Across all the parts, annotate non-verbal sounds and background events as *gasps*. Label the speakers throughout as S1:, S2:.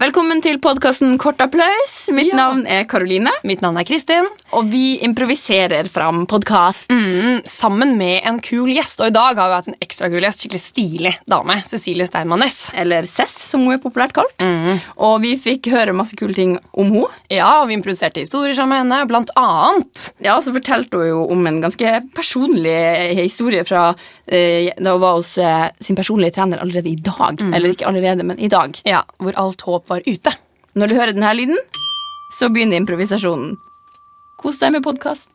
S1: Velkommen til podkasten Kort applaus. Mitt
S2: Ja.
S1: navn er Karoline,
S2: Mitt navn er Kristin,
S1: og vi improviserer fram podkast.
S2: mm, sammen med en kul gjest. Og i dag har vi hatt en ekstra kul gjest, skikkelig stilig dame. Cecilie Steinmann Næss.
S1: Eller Cess, som hun er populært kalt. Og vi fikk høre masse kule ting om henne.
S2: Ja, vi improviserte historier sammen med henne, blant annet.
S1: Ja, Så fortalte hun jo om en ganske personlig historie fra eh, da hun var hos eh, sin personlige trener allerede i dag. Eller ikke allerede, men i dag.
S2: Ja, hvor alt håp var ute.
S1: Når du hører denne lyden, så begynner improvisasjonen. Kos deg med podkast.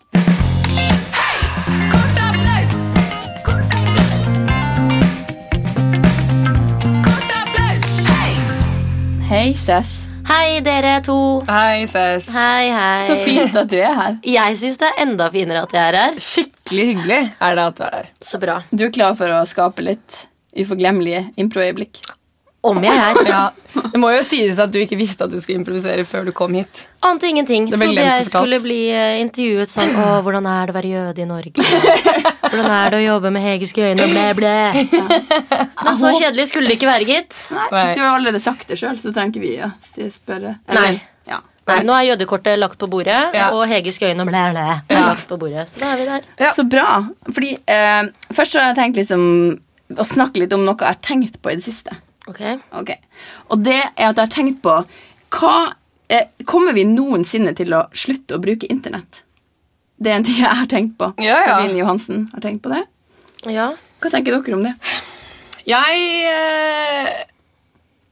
S1: Hei, Cess.
S3: Hei, dere to.
S2: Hei, Cess.
S3: Hei, hei.
S1: Så fint at du er her.
S3: Jeg syns det er enda finere at jeg er her.
S2: Skikkelig hyggelig er det at du er her.
S3: Så bra.
S1: Du er klar for å skape litt uforglemmelige improøyeblikk?
S3: Om jeg
S2: *laughs*
S3: er her.
S2: Ja, Det må jo sies at du ikke visste at du skulle improvisere før du kom hit.
S3: Ante ingenting.
S2: Det ble
S3: Trodde
S2: glemt
S3: jeg
S2: totalt.
S3: skulle bli eh, intervjuet sånn Å, hvordan er det å være jøde i
S2: *laughs*
S3: Norge? Hvordan er det å jobbe med hegerske øyne og blæ,
S2: *laughs*
S3: blæ? Men så kjedelig skulle det ikke være, gitt.
S2: Nei.
S1: Du har allerede sagt det sjøl, så trenger ikke vi å si- spørre. Eller-
S3: Nei.
S1: Ja.
S3: Nei, nå er jødekortet lagt på bordet,
S2: Ja.
S3: og hegerske øyne og blæ, blæ er lagt på bordet. Så da er vi der.
S2: Ja.
S1: Så bra. Fordi eh, Først så har jeg tenkt liksom å snakke litt om noe jeg har tenkt på i det siste.
S3: Ok.
S1: Ok. Og det er at jeg har tenkt på hva, eh, Kommer vi noensinne til å slutte å bruke Internett? Det er en ting jeg har tenkt på.
S2: Ja, ja.
S1: Karoline Johansen har tenkt på det.
S3: Ja.
S1: Hva tenker dere om det?
S2: Jeg eh,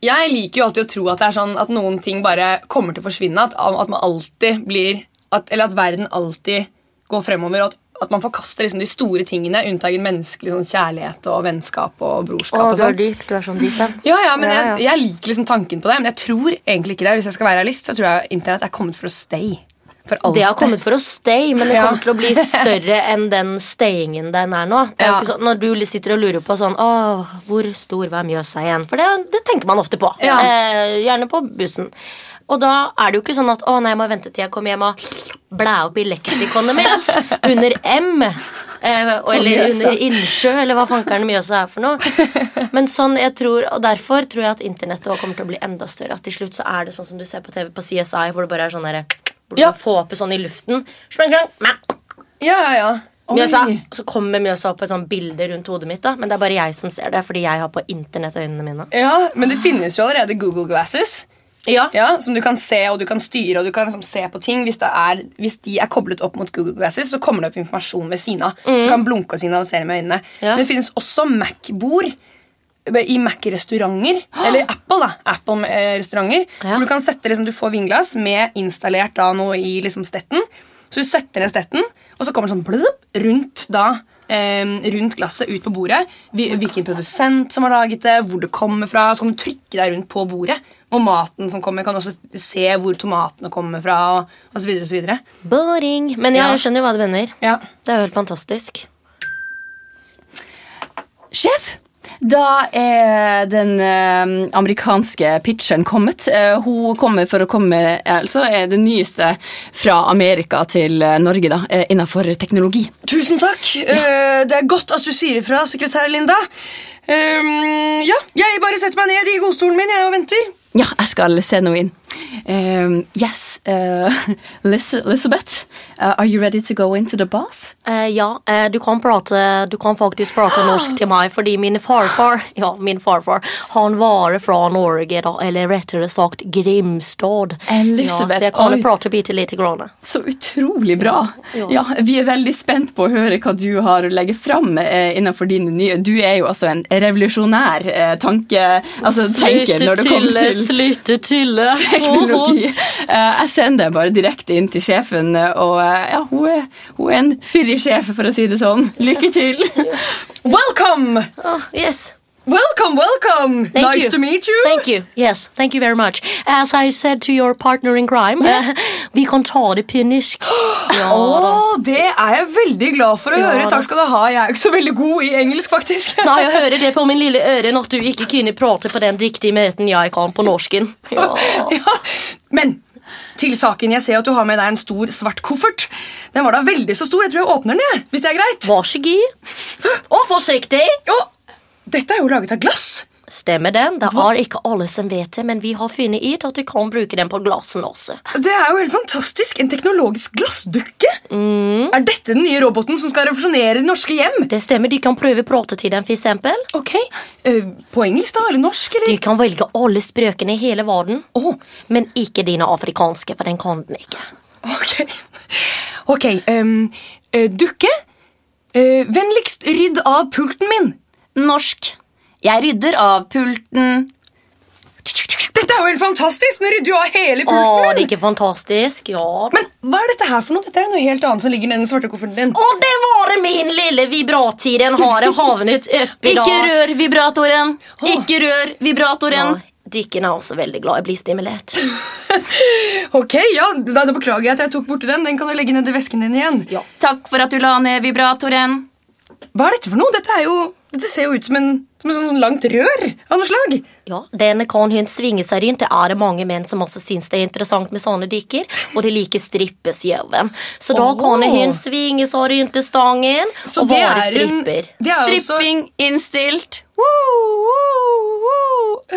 S2: Jeg liker jo alltid å tro at det er sånn at noen ting bare kommer til å forsvinne. At, at man alltid blir at, Eller at verden alltid går fremover. og At, at man forkaster liksom de store tingene, unntagen menneskelig sånn kjærlighet og vennskap og brorskap. og sånn.
S3: dyp. Du er sånn dyp, den.
S2: Ja, ja, men
S3: Ja,
S2: jeg, jeg liker liksom tanken på det, men jeg tror egentlig ikke det. Hvis jeg skal være realist, så tror jeg internett er kommet for å stay. For alltid.
S3: Det har kommet for å stay, men det
S2: Ja.
S3: kommer til å bli
S2: *laughs*
S3: større enn den stayingen den er nå. Det er jo
S2: Ja.
S3: ikke sånn, når du sitter og lurer på sånn Åh, hvor stor var Mjøsa igjen? For det, det tenker man ofte på.
S2: Ja.
S3: Eh, gjerne på bussen. Og da er det jo ikke sånn at å nei, jeg må vente til jeg kommer hjem og blæ opp i leksikonet
S2: *laughs*
S3: mitt under M. Eh, og, eller
S1: Mjøsa.
S3: under innsjø, eller hva fankeren Mjøsa er for
S2: *laughs*
S3: noe. Men sånn, jeg tror, og derfor tror jeg at internettet også kommer til å bli enda større. At til slutt så er det sånn som du ser på TV på CSI, hvor det bare er sånn derre Hvor du
S2: Ja.
S3: kan få opp sånn i luften. Slang, slang, mæ,
S2: Ja, ja, ja.
S3: Mjøsa.
S1: Oi.
S3: Så kommer Mjøsa opp på et sånt bilde rundt hodet mitt, da. Men det er bare jeg som ser det, fordi jeg har på internettøynene mine.
S2: ja, men det finnes jo allerede Google Glasses.
S3: Ja.
S2: Ja, Som du kan se og du kan styre og du kan liksom se på ting. Hvis, det er, hvis de er koblet opp mot Google Glasses, så kommer det opp informasjon ved siden av. Så kan blunke og signalisere med øynene.
S3: Ja.
S2: Men det finnes også Mac-bord i Mac-restauranter. Eller Apple, da. Apple-restauranter.
S3: Ja.
S2: Hvor du kan sette liksom, du får vinglass med installert da noe i liksom, stetten. Så du setter ned stetten, og så kommer det sånn blubb rundt da. eh, rundt glasset, ut på bordet. Hvi- Hvilken produsent som har laget det, hvor det kommer fra. Så kan du trykke deg rundt på bordet. Og maten som kommer, kan også se hvor tomatene kommer fra. Og, og så videre og så videre.
S3: Boring. Men ja,
S2: Ja.
S3: jeg skjønner jo hva du mener.
S2: Ja.
S3: Det er jo helt fantastisk.
S1: Sjef, da er den eh, amerikanske pitcheren kommet. Eh, hun kommer for å komme altså er det nyeste fra Amerika til eh, Norge da, eh, innenfor teknologi.
S2: Tusen takk. Eh, det er godt at du sier ifra, sekretær Linda. Ehm, ja, jeg bare setter meg ned i godstolen min jeg og venter.
S1: Ja, jeg skal se noe inn. Eh, yes, eh, *laughs* Liz Elizabeth, eh, are you ready to go into the bus?
S3: Eh, ja, eh, du kan prate Du kan faktisk prate norsk til meg, fordi min farfar Ja, min farfar Han var fra Norge, da, eller rettere sagt Grimstad.
S1: Elisabeth,
S3: ja, så jeg kan
S1: oi.
S3: prate bitte lite grann.
S1: Så utrolig bra.
S3: Ja.
S1: Ja, vi er veldig spent på å høre hva du har å legge fram eh, innenfor dine nye. Du er jo altså en revolusjonær eh, tanke, altså, tenker når det kommer
S3: eh,
S1: til
S3: Slutte tulle.
S1: teknologi. Eh, jeg sender deg bare direkte inn til sjefen, eh, og eh, ja, hun er, hun er en fyrig sjef, for å si det sånn. Lykke til.
S2: Welcome!
S3: Ah, yes.
S2: Welcome, welcome!
S3: Thank
S2: nice
S3: you.
S2: to meet you.
S3: Thank you. Yes, thank you very much. As I said to your partner in crime, *laughs* vi kan ta det på
S2: *gasps*
S3: norsk. Ja,
S2: Å,
S3: da.
S2: det er jeg veldig glad for å
S3: Ja,
S2: høre.
S3: da.
S2: Takk skal du ha. Jeg er jo ikke så veldig god i engelsk, faktisk.
S3: Nei, jeg hører det på min lille øren at du ikke kunne prate på den dyktige møten jeg kan på norsken. Ja.
S2: *laughs* Ja. Men til saken. Jeg ser at du har med deg en stor svart koffert. Den var da veldig så stor. Jeg tror jeg åpner den, jeg, hvis det er greit.
S3: Vær så god. Og forsiktig.
S2: Å, dette er jo laget av glass.
S3: Stemmer den. Det er ikke alle som vet det, men vi har funnet ut at du kan bruke den på glassen også.
S2: Det er jo helt fantastisk! En teknologisk glassdukke! Er dette den nye roboten som skal revolusjonere det norske hjem?
S3: Det stemmer, du kan prøve pratetiden, for eksempel.
S2: Ok, eh, På engelsk, da? Eller norsk?
S3: Du
S2: eller?
S3: kan velge alle språkene i hele verden,
S2: Åh,
S3: men ikke dine afrikanske, for den kan den ikke.
S2: ok. Ok, ehm, eh, dukke. Eh, vennligst rydd av pulten min!
S1: Norsk. Jeg rydder av pulten.
S2: Dette er jo helt fantastisk! Nå rydder jo av hele
S3: Å,
S2: pulten
S3: det er
S2: min!
S3: ikke fantastisk? Ja.
S2: Men hva er dette her for noe? Dette er jo noe helt annet som ligger nede i den svarte kofferten din.
S3: Og det var min lille vibratiden har havnet
S2: *laughs*
S3: oppi da.
S1: Ikke rør vibratoren! Ikke rør
S3: Ja,
S1: vibratoren!
S3: Dykkerne er også veldig glad i å bli stimulert.
S2: Ok, ja, da, da beklager jeg at jeg tok borti den. Den kan du legge ned i vesken din igjen.
S3: Ja.
S1: Takk for at du la ned vibratoren.
S2: Hva er dette for noe? Dette, er jo, dette ser jo ut som en, som en sånn langt rør av noe slag.
S3: Ja, den kan hun svinge seg rundt. Det er det mange menn som også syns det er interessant med sånne dykker. Og de liker strippesjøven. Så da
S2: Åh.
S3: kan hun svinge seg rundt i stangen
S2: Så
S3: og
S2: det
S3: være
S2: er en-
S3: stripper.
S2: det er jo også-
S1: Stripping innstilt. Woo, woo, woo.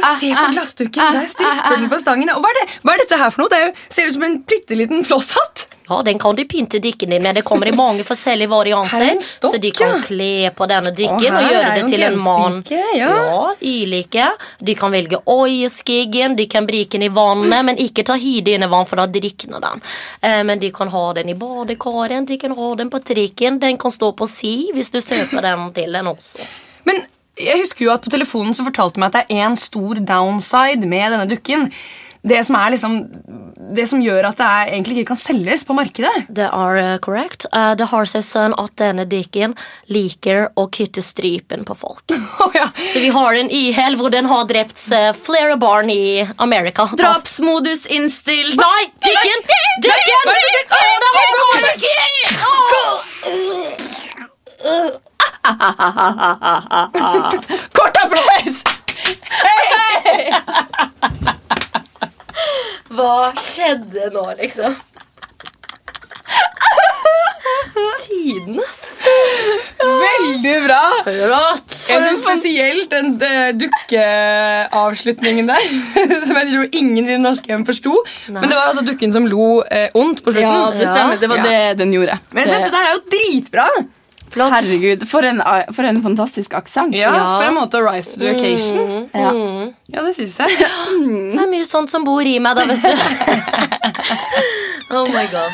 S1: Ah,
S2: Se på
S1: ah,
S2: glassdukken,
S1: ah,
S2: der stripper
S1: ah, ah.
S2: den på stangen. Og hva er, det, hva er dette her for noe? Det er jo, ser ut som en bitte liten flosshatt.
S3: Ja, den kan du pynte dykken din med. Det kommer i mange
S2: Her er
S3: forskjellige
S2: en
S3: varianter.
S2: stokk,
S3: Så de kan
S2: ja.
S3: kle på denne
S2: Å,
S3: dykken
S2: her
S3: og gjøre
S2: er
S3: det
S2: en
S3: til en mann.
S2: tjenestepike, ja.
S3: ulike. De kan velge oieskiggen, de kan bruke den i vannet, men ikke ta høyde innenvann, for da drikner den. Eh, Men de kan ha den i badekaren, de kan ha den på trikken, den kan stå på si hvis du søker den til den også.
S2: Men jeg husker jo at på telefonen så fortalte du meg at det er en stor downside med denne dukken. Det som, er liksom, det som gjør at det er, egentlig ikke kan selges på markedet. *laughs*
S3: Det er eh, korrekt. Eh, Det har seg sånn at denne dykken liker å kutte strypen på folk.
S2: Å ja.
S3: Så vi har en ihel hvor den har drept eh, flere barn i Amerika. Ah,
S1: Drapsmodus innstilt.
S3: Nei, dykken! Dykken!
S2: Hva er det som skjer?
S3: Å, det har gått!
S1: Kort applaus!
S3: Hva skjedde nå, liksom? Tidenes.
S2: Veldig bra!
S3: Flott.
S2: Jeg synes spesielt den eh, dukkeavslutningen der. *laughs* Som jeg tror ingen i det norske hjem forsto. Men det var altså dukken som lo eh, ondt på slutten.
S1: Ja, det stemmer. Det var
S2: Ja.
S1: det den gjorde.
S2: Men jeg synes det her er jo dritbra!
S1: Herregud, for en, for en fantastisk aksent. Mm.
S2: Ja,
S3: Ja.
S2: For en måte å rise to the occasion.
S1: Ja.
S2: Ja, det synes jeg.
S3: Det er mye sånt som bor i meg, da, vet du. *laughs* oh my god.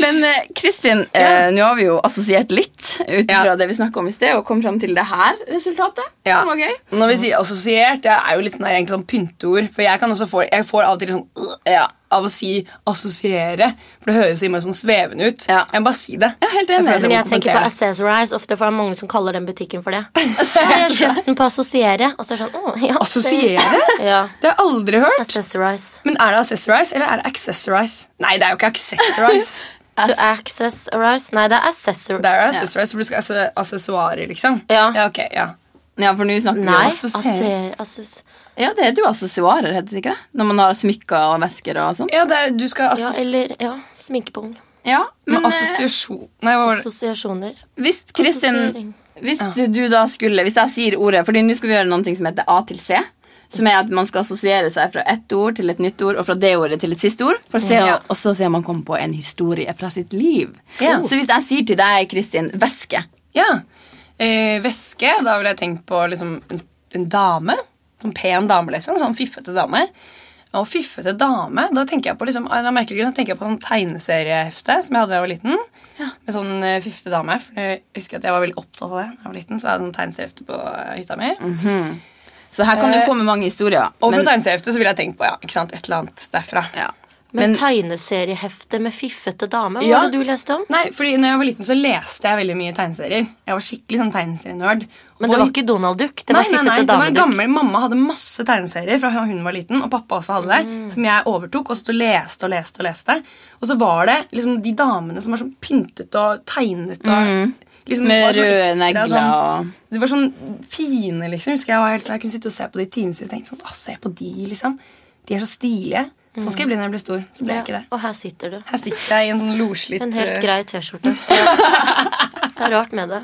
S1: Men eh, Kristin, eh, nå har vi jo assosiert litt ut fra det vi snakka om i sted, og kom fram til det her resultatet.
S2: Ja.
S1: Som var gøy.
S2: Når vi sier assosiert, det er jo litt sånn, der, egentlig sånn pynteord. For jeg, kan også få, jeg får av og til sånn øh, ja, av å si assosiere. For det høres innmari sånn svevende ut.
S1: Ja.
S2: Jeg må bare si det.
S1: Ja, helt
S2: Jeg
S1: enig.
S2: føler at
S3: Men
S2: må
S3: jeg tenker på
S2: kommentere.
S3: Accessorize ofte, for det er mange som kaller den butikken for det. Så har *laughs* jeg kjøpt den på Assosiere. Og så er det sånn, å, ja.
S2: Assosiere?
S3: Ja.
S2: Det har jeg aldri hørt.
S3: Accessorize.
S2: Men er det accessorize, eller er det accessorize? Nei, det er jo ikke accessorize.
S3: To accessorize. Nei, det er accessor...
S2: det er jo accessorize, for du skal ha accessoarer, liksom.
S3: Ja.
S2: ja ok, ja.
S1: Ja, for nå snakker
S3: Nei,
S1: vi jo
S3: assosiere. Assess...
S1: Ja, det heter jo assosiarer, heter det ikke det? Når man har smykker og vesker og sånn.
S2: Ja, det er, du skal
S3: Ja,
S2: assos...
S3: eller ja, sminkepung.
S1: Ja, men
S2: Men
S1: eh,
S2: assosiasjon... Nei, hva var det?
S3: Assosiasjoner.
S1: hvis Kristin
S3: Assosiering.
S1: Hvis du da skulle Hvis jeg sier ordet Fordi nå skal vi gjøre noe som heter A til C. Som er at man skal assosiere seg fra ett ord til et nytt ord, og fra det ordet til et siste ord. For å se,
S2: Ja.
S1: Og så ser man komme på en historie fra sitt liv.
S2: Ja.
S1: Så hvis jeg sier til deg, Kristin, væske
S2: Ja. Eh, væske, da ville jeg tenkt på liksom en, en dame. En pen dame, liksom. Sånn fiffete dame. Og fiffete dame, da tenker jeg på liksom, av en eller annen merkelig grunn, da tenker jeg på sånn tegneseriehefte som jeg hadde da jeg var liten. Med sånn eh, fiffete dame. For jeg husker at jeg var veldig opptatt av det da jeg var liten. Så jeg hadde sånn tegneseriehefte på eh, hytta mi.
S3: Mhm.
S1: Så her kan det
S2: Eh,
S1: jo komme mange historier.
S2: Og fra
S1: Men,
S2: tegneseriehefte så ville jeg tenkt på ja, ikke sant, et eller annet derfra. *laughs*
S1: ja.
S3: Men,
S1: men
S3: tegneseriehefte med fiffete dame, hva
S2: Ja.
S3: var det du leste om?
S2: Nei, fordi når jeg var liten, så leste jeg veldig mye tegneserier. Jeg var skikkelig sånn tegneserienerd.
S3: Men det
S2: Og-
S3: var ikke Donald Duck, det var
S2: nei, nei, nei,
S3: fiffete
S2: det var en
S3: damedukk.
S2: gammel Mamma hadde masse tegneserier fra hun var liten, og pappa også hadde det, som jeg overtok og satt og leste og leste. Og leste. Og så var det liksom de damene som var sånn pyntet og tegnet og liksom,
S1: Med
S2: var sånn
S1: røde
S2: ekstra
S1: negler og-
S2: Sånn, de var sånn fine, liksom. husker Jeg var helt, så jeg kunne sitte og se på de i timevis og tenke sånn, «Å, se på de, liksom. De er så stilige. Sånn skal jeg bli når jeg blir stor. Så ble jeg ikke
S3: Ja,
S2: det.
S3: og her sitter du.
S2: *laughs* Her sitter jeg i en sånn loslitt
S3: En
S2: eh,
S3: helt grei T-skjorte. Jeg har rørt med det.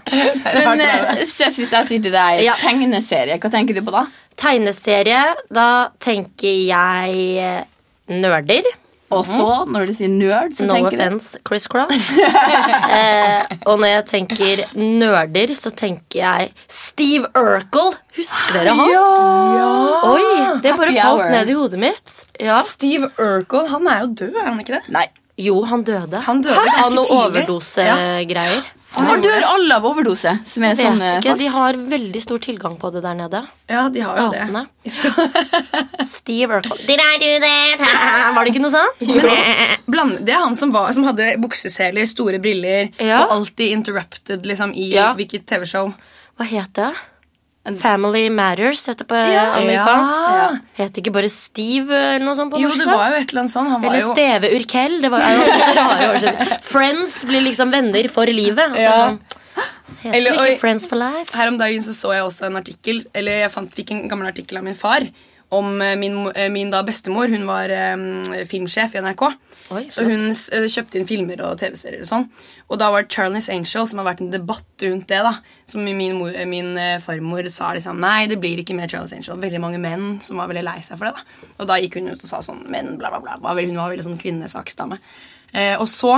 S1: Men eh, ses hvis jeg sier til deg
S3: Ja.
S1: tegneserie. Hva tenker du på da?
S3: Tegneserie, da tenker jeg eh, nerder.
S1: Og
S2: Mhm.
S1: så, når du sier nerd, så
S3: No
S1: tenker du
S3: offense, Chris Cross.
S2: *laughs*
S3: eh, og når jeg tenker nerder, så tenker jeg Steve Urkel. Husker dere han?
S2: Ja.
S3: Oi, det bare
S1: Happy
S3: falt
S1: hour.
S3: ned i hodet mitt. Ja.
S2: Steve Urkel han er jo død, er han ikke det?
S1: Nei.
S3: Jo, han døde.
S2: Han døde ganske
S3: Av noe
S2: tidlig.
S3: overdosegreier.
S1: Hvorfor dør alle av overdose? Som er
S3: Vet
S1: sånn eh,
S3: ikke, De har veldig stor tilgang på det der nede.
S2: Ja, de har jo det.
S3: Statene. Steve Urkel. Did I do that?
S2: *laughs*
S3: Var det ikke noe sånt?
S2: Bland, det er han som, var, som hadde bukseseler, store briller
S3: Ja.
S2: og alltid interrupted liksom, i
S3: Ja.
S2: hvilket TV-show.
S3: Hva het det? Family Matters heter det på amerikansk. Het ikke bare Steve eller noe sånt på
S2: Jo,
S3: norsk?
S2: det
S3: da?
S2: var jo et eller annet sånn. Han var
S3: Eller
S2: jo
S3: Steve Urkel. Det var jo alltid så rare år siden. Friends blir liksom venner for livet. Altså,
S2: Ja.
S3: sånn, heter
S2: Eller,
S3: det ikke
S2: oi.
S3: Friends for life?
S2: Her om dagen så, så jeg også en artikkel Eller jeg fant, fikk en gammel artikkel av min far om eh, min, mo- eh, min da bestemor. Hun var eh, filmsjef i NRK.
S3: Oi,
S2: så hun s- eh, kjøpte inn filmer og TV-serier. Og sånn Og da var det Charlies Angel som har vært en debatt rundt det. da Som min, mor, eh, min eh, farmor sa liksom Nei, det blir ikke mer Charlies Angel. Veldig mange menn som var veldig lei seg for det. da Og da gikk hun ut og sa sånn Men bla, bla, bla. bla. Hun var veldig sånn kvinnesaksdame. Eh, og så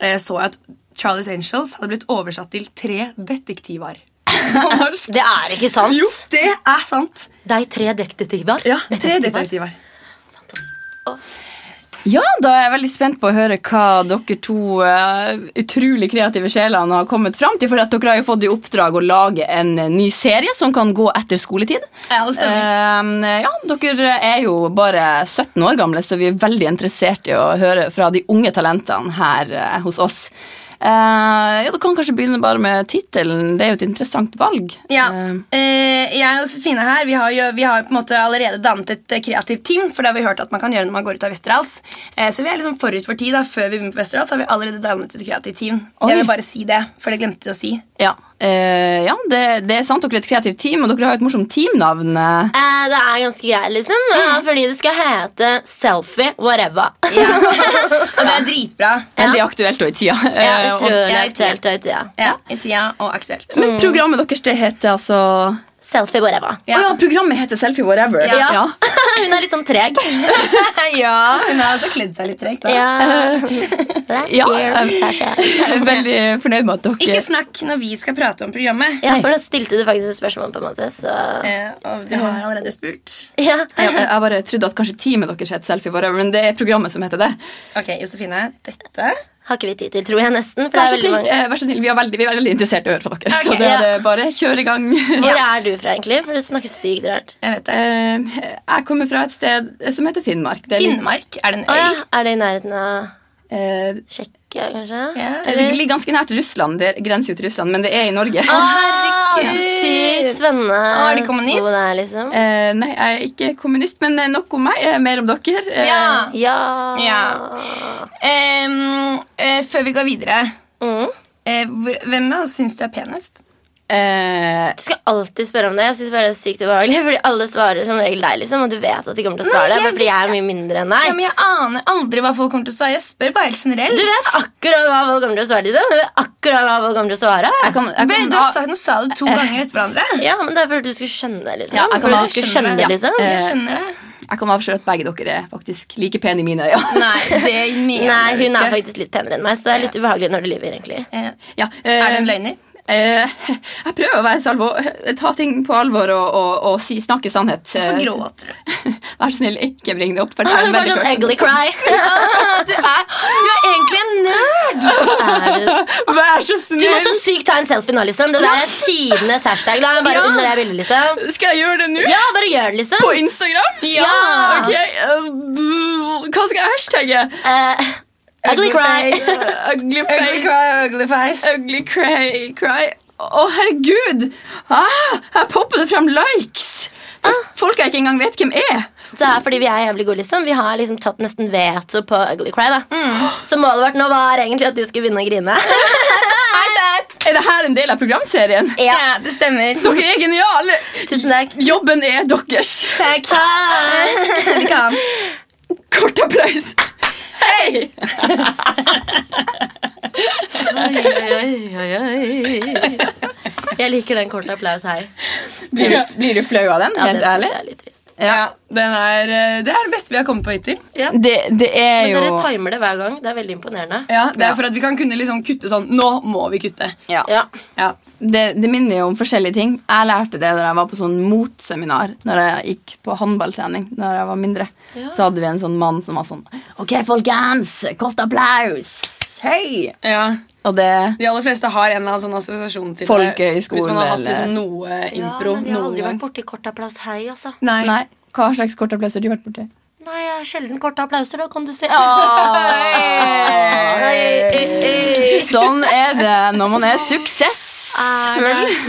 S2: eh, så jeg at Charlies Angels hadde blitt oversatt til tre detektivar. På norsk.
S3: Det er ikke sant.
S2: Jo, det er sant.
S3: De tre detektiver.
S2: Ja, tre detektiver.
S1: Ja, da er jeg veldig spent på å høre hva dere to eh, utrolig kreative sjelene har kommet fram til. For at dere har jo fått i oppdrag å lage en eh, ny serie som kan gå etter skoletid.
S2: Ja, det stemmer.
S1: Eh, ja, dere er jo bare 17 år gamle, så vi er veldig interessert i å høre fra de unge talentene her eh, hos oss. Eh, ja, Du kan kanskje begynne bare med tittelen. Det er jo et interessant valg.
S2: Ja,
S1: Eh,
S2: eh, Jeg og Sofine her vi har, jo, vi har jo på en måte allerede dannet et eh, kreativt team. For det har vi hørt at man kan gjøre når man går ut av Westerdals. Eh, så vi er liksom forut for tid. da Før vi begynner på Westerdals, har vi allerede dannet et kreativt team.
S1: Oi.
S2: Jeg vil bare si det, for det glemte vi å si. *laughs*
S1: ja, eh, ja det, det er sant, dere er et kreativt team, og dere har jo et morsomt teamnavn. eh.
S3: Eh, det er ganske greit, liksom.
S2: Mm.
S3: eh, Fordi det skal hete selfie whatever.
S2: Eh, Og det er dritbra.
S1: Veldig aktuelt og i tida. Eh,
S3: Ja,
S1: og-
S3: utrolig
S2: Ja,
S3: aktuelt. og ut, ja.
S2: Ja, I tida og aktuelt.
S1: Men programmet deres det heter altså
S3: Selfie whatever. *laughs*
S1: Å ja, programmet heter Selfie Whatever.
S3: Ja. *laughs* Hun er litt sånn treg.
S2: *laughs* ja, hun har også kledd seg litt tregt. *laughs* da.
S3: Ja. That's
S1: Ja,
S3: weird.
S1: eh,
S3: That's weird.
S1: Jeg er veldig fornøyd med at dere
S2: Ikke snakk når vi skal prate om programmet.
S3: Ja, for da stilte du faktisk et spørsmål, på en måte, så
S2: Eh, og du har allerede spurt.
S3: ja.
S1: jeg, jeg bare trodde at kanskje teamet deres het Selfie Whatever, men det er programmet som heter det.
S2: Ok, Josefine, dette
S3: Har ikke vi tid til, tror jeg, nesten. For det
S1: Vær så
S3: er veldig
S1: snill,
S3: mange
S1: eh, vær så snill. Vi er veldig, vi er veldig interessert i å høre fra dere.
S2: Ok,
S1: så det er
S3: ja.
S1: eh, bare kjør i gang.
S3: Hvor er du fra, egentlig? For du snakker sykt rart.
S2: Jeg vet det.
S1: *laughs* Eh, jeg kommer fra et sted som heter Finnmark. Det er litt-
S2: Finnmark er det en
S3: Å ja.
S2: øy.
S3: Er det i nærheten av
S1: eh,
S3: Tsjekkia, kanskje?
S2: Ja.
S1: det ligger ganske nært Russland. Det grenser jo til Russland, men det er i Norge.
S3: Å, herregud! Ah, Så sykt spennende.
S2: Å, er du kommunist?
S3: skole der, liksom.
S1: Eh, nei, jeg er ikke kommunist, men eh, nok om meg. eh, Mer om dere. Eh,
S2: Ja.
S3: Ja.
S2: Ja. Ehm, eh, før vi går videre
S3: Mm.
S2: eh, hvor- Hvem av oss syns du er penest?
S1: eh,
S3: Du skal alltid spørre om det. Jeg synes bare det er sykt ubehagelig Fordi alle svarer som regel deg, liksom. Og du vet at de kommer til å
S2: Nei,
S3: svare deg.
S2: jeg
S3: bare Fordi jeg er mye mindre enn deg.
S2: Ja, men Jeg aner aldri hva folk kommer til å svare. Jeg spør bare helt generelt.
S3: Du vet akkurat hva folk kommer til å svare, liksom. Du vet akkurat hva folk kommer til å svare.
S1: jeg kan, jeg
S2: Vel,
S1: kan,
S2: du har
S1: ha-
S2: sagt, nå sa du to ganger etter hverandre.
S3: Ja, men det er for at du skulle skjønne, liksom.
S2: Eh. Ja, Eh, jeg kan
S3: for
S2: ha-
S3: at du skulle skjønne,
S2: skjønner det.
S3: liksom.
S2: Jeg skjønner det.
S1: jeg kan avsløre at begge dere er faktisk like pene i mine øyne. *laughs*
S2: Nei, det mener
S3: Nei,
S2: du
S3: hun er
S2: ikke.
S3: faktisk litt penere enn meg, så det er litt ubehagelig når du lyver, egentlig.
S2: Eh,
S1: Ja,
S2: Er du en løgner?
S1: Eh, *laughs* jeg prøver å være så alvor, eh, ta ting på alvor og, og, og si, snakke sannhet.
S2: Hvorfor
S1: Eh,
S2: gråter du?
S1: *laughs* Vær så snill, ikke bring det opp. For det er
S3: *laughs* Hun var
S1: veldig
S3: sånn
S1: følsomt.
S3: ugly
S2: *laughs* *laughs*
S3: cry. *laughs*
S2: Du er, du er egentlig en nerd!
S3: Er du
S1: *laughs* Vær så
S3: Du må så
S1: snill!
S3: sykt ta en selfie nå, liksom. Det der er tidenes hashtag. La meg bare
S2: Ja.
S3: under det bildet, liksom.
S1: Skal jeg gjøre det nå?
S3: Ja, bare gjør det, liksom.
S1: På Instagram?
S3: Ja.
S1: Ok, eh, b- Hva skal jeg hashtagge?
S3: Eh, ugly cry.
S2: face.
S1: Ugly
S2: Ugly
S1: face.
S2: cry, ugly face.
S1: Ugly cry. cry. Å, herregud! Ah, her popper det fram likes! Folk jeg ikke engang vet hvem er.
S3: *laughs* Det er fordi vi er jævlig gode, liksom. Vi har liksom tatt nesten veto på ugly cry, da. Så målet vårt nå var egentlig at du skulle begynne å grine. *laughs*
S2: Hei der!
S1: Er det her en del av programserien?
S3: Ja.
S2: Ja, det stemmer.
S1: Dere er geniale!
S3: Tusen takk.
S1: Jobben er deres.
S2: Takk.
S3: Takk.
S2: Vi
S1: *laughs*
S2: kan.
S1: Kort applaus. Hei!
S3: Oi, oi, oi, oi. Jeg liker den korte applaus her.
S1: Blir du, blir du flau av den?
S3: Ja,
S1: Helt
S3: den synes
S1: ærlig?
S3: jeg er litt trist.
S2: Ja, den er, eh, Det er det beste vi har kommet på hittil.
S3: Ja.
S1: Det, det er
S3: Men
S1: jo
S3: dere timer det hver gang. Det er veldig imponerende.
S2: Ja, Det er
S1: Ja.
S2: for at vi kan kunne liksom kutte sånn Nå må vi kutte.
S1: ja.
S3: Ja.
S2: Ja,
S1: det, det minner jo om forskjellige ting. Jeg lærte det da jeg var på sånn motseminar. Når jeg gikk på håndballtrening da jeg var mindre.
S3: Ja.
S1: Så hadde vi en sånn mann som var sånn Ok, folkens, kort applaus! Hei!
S2: ja.
S1: Og det
S2: De aller fleste har en eller annen sånn assosiasjon til
S1: Folkehøyskolen,
S2: Hvis man har hatt
S1: eller-
S2: liksom noe impro.
S3: men jeg har
S2: noen
S3: aldri
S2: gang.
S3: vært borti kort applaus hei, altså.
S2: Nei.
S1: Nei, hva slags kort applaus har du vært borti?
S3: Nei, jeg har sjelden korte applauser, da kan du se. Hei.
S1: Sånn er det når man er suksessfull.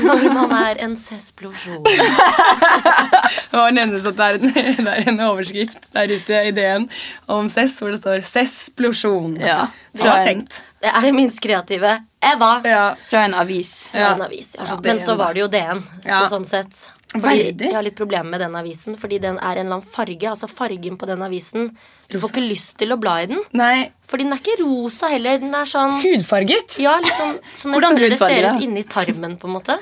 S3: Når man er en sesplosjon.
S2: Det var nevnes at det er, en, *laughs* det er en overskrift der ute i DN om CESS, hvor det står 'Cessplosjon'.
S1: Ja.
S2: Bra tenkt.
S3: Det er det minst kreative. Eva.
S2: Ja.
S1: Fra en avis.
S3: Ja.
S2: Ja.
S3: En avis, ja.
S2: Altså, DN,
S3: Men så var
S2: da.
S3: det jo DN. Så
S2: Ja.
S3: sånn sett fordi
S2: Veldig.
S3: Jeg har litt problemer med den avisen, fordi den er en eller annen farge. Altså fargen på den avisen Du får ikke lyst til å bla i den.
S2: Nei,
S3: Fordi den er ikke rosa heller. Den er sånn
S2: hudfarget.
S3: ja, litt sånn, sånn jeg
S1: Hvordan
S3: føler det
S1: hudfarge
S3: ser
S1: er
S3: ut
S1: det?
S3: inni tarmen, på en måte.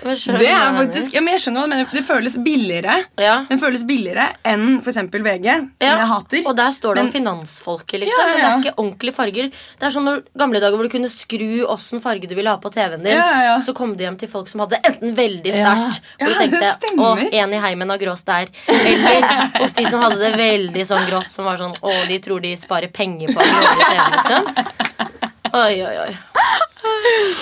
S3: Hva skjønner du
S2: Det er
S3: hva jeg
S2: faktisk, ja, men jeg skjønner hva du mener. Det føles billigere
S3: Ja.
S2: Den føles billigere enn for eksempel VG, som
S3: Ja,
S2: jeg hater.
S3: Og der står det om
S2: Men-
S3: finansfolket, liksom.
S2: Ja, ja,
S3: Men det
S2: ja.
S3: er ikke ordentlige farger. Det er sånn når gamle dager hvor du kunne skru åssen farge du ville ha på TV-en din.
S2: Ja, ja, ja.
S3: Så kom du hjem til folk som hadde enten veldig sterkt,
S2: Ja.
S3: og du
S2: Ja, det
S3: tenkte å,
S2: stemmer.
S3: en i heimen har grå stær. Eller hos de som hadde det veldig sånn grått, som var sånn å, de tror de sparer penger på å ha grå TV, liksom. Oi, oi, oi.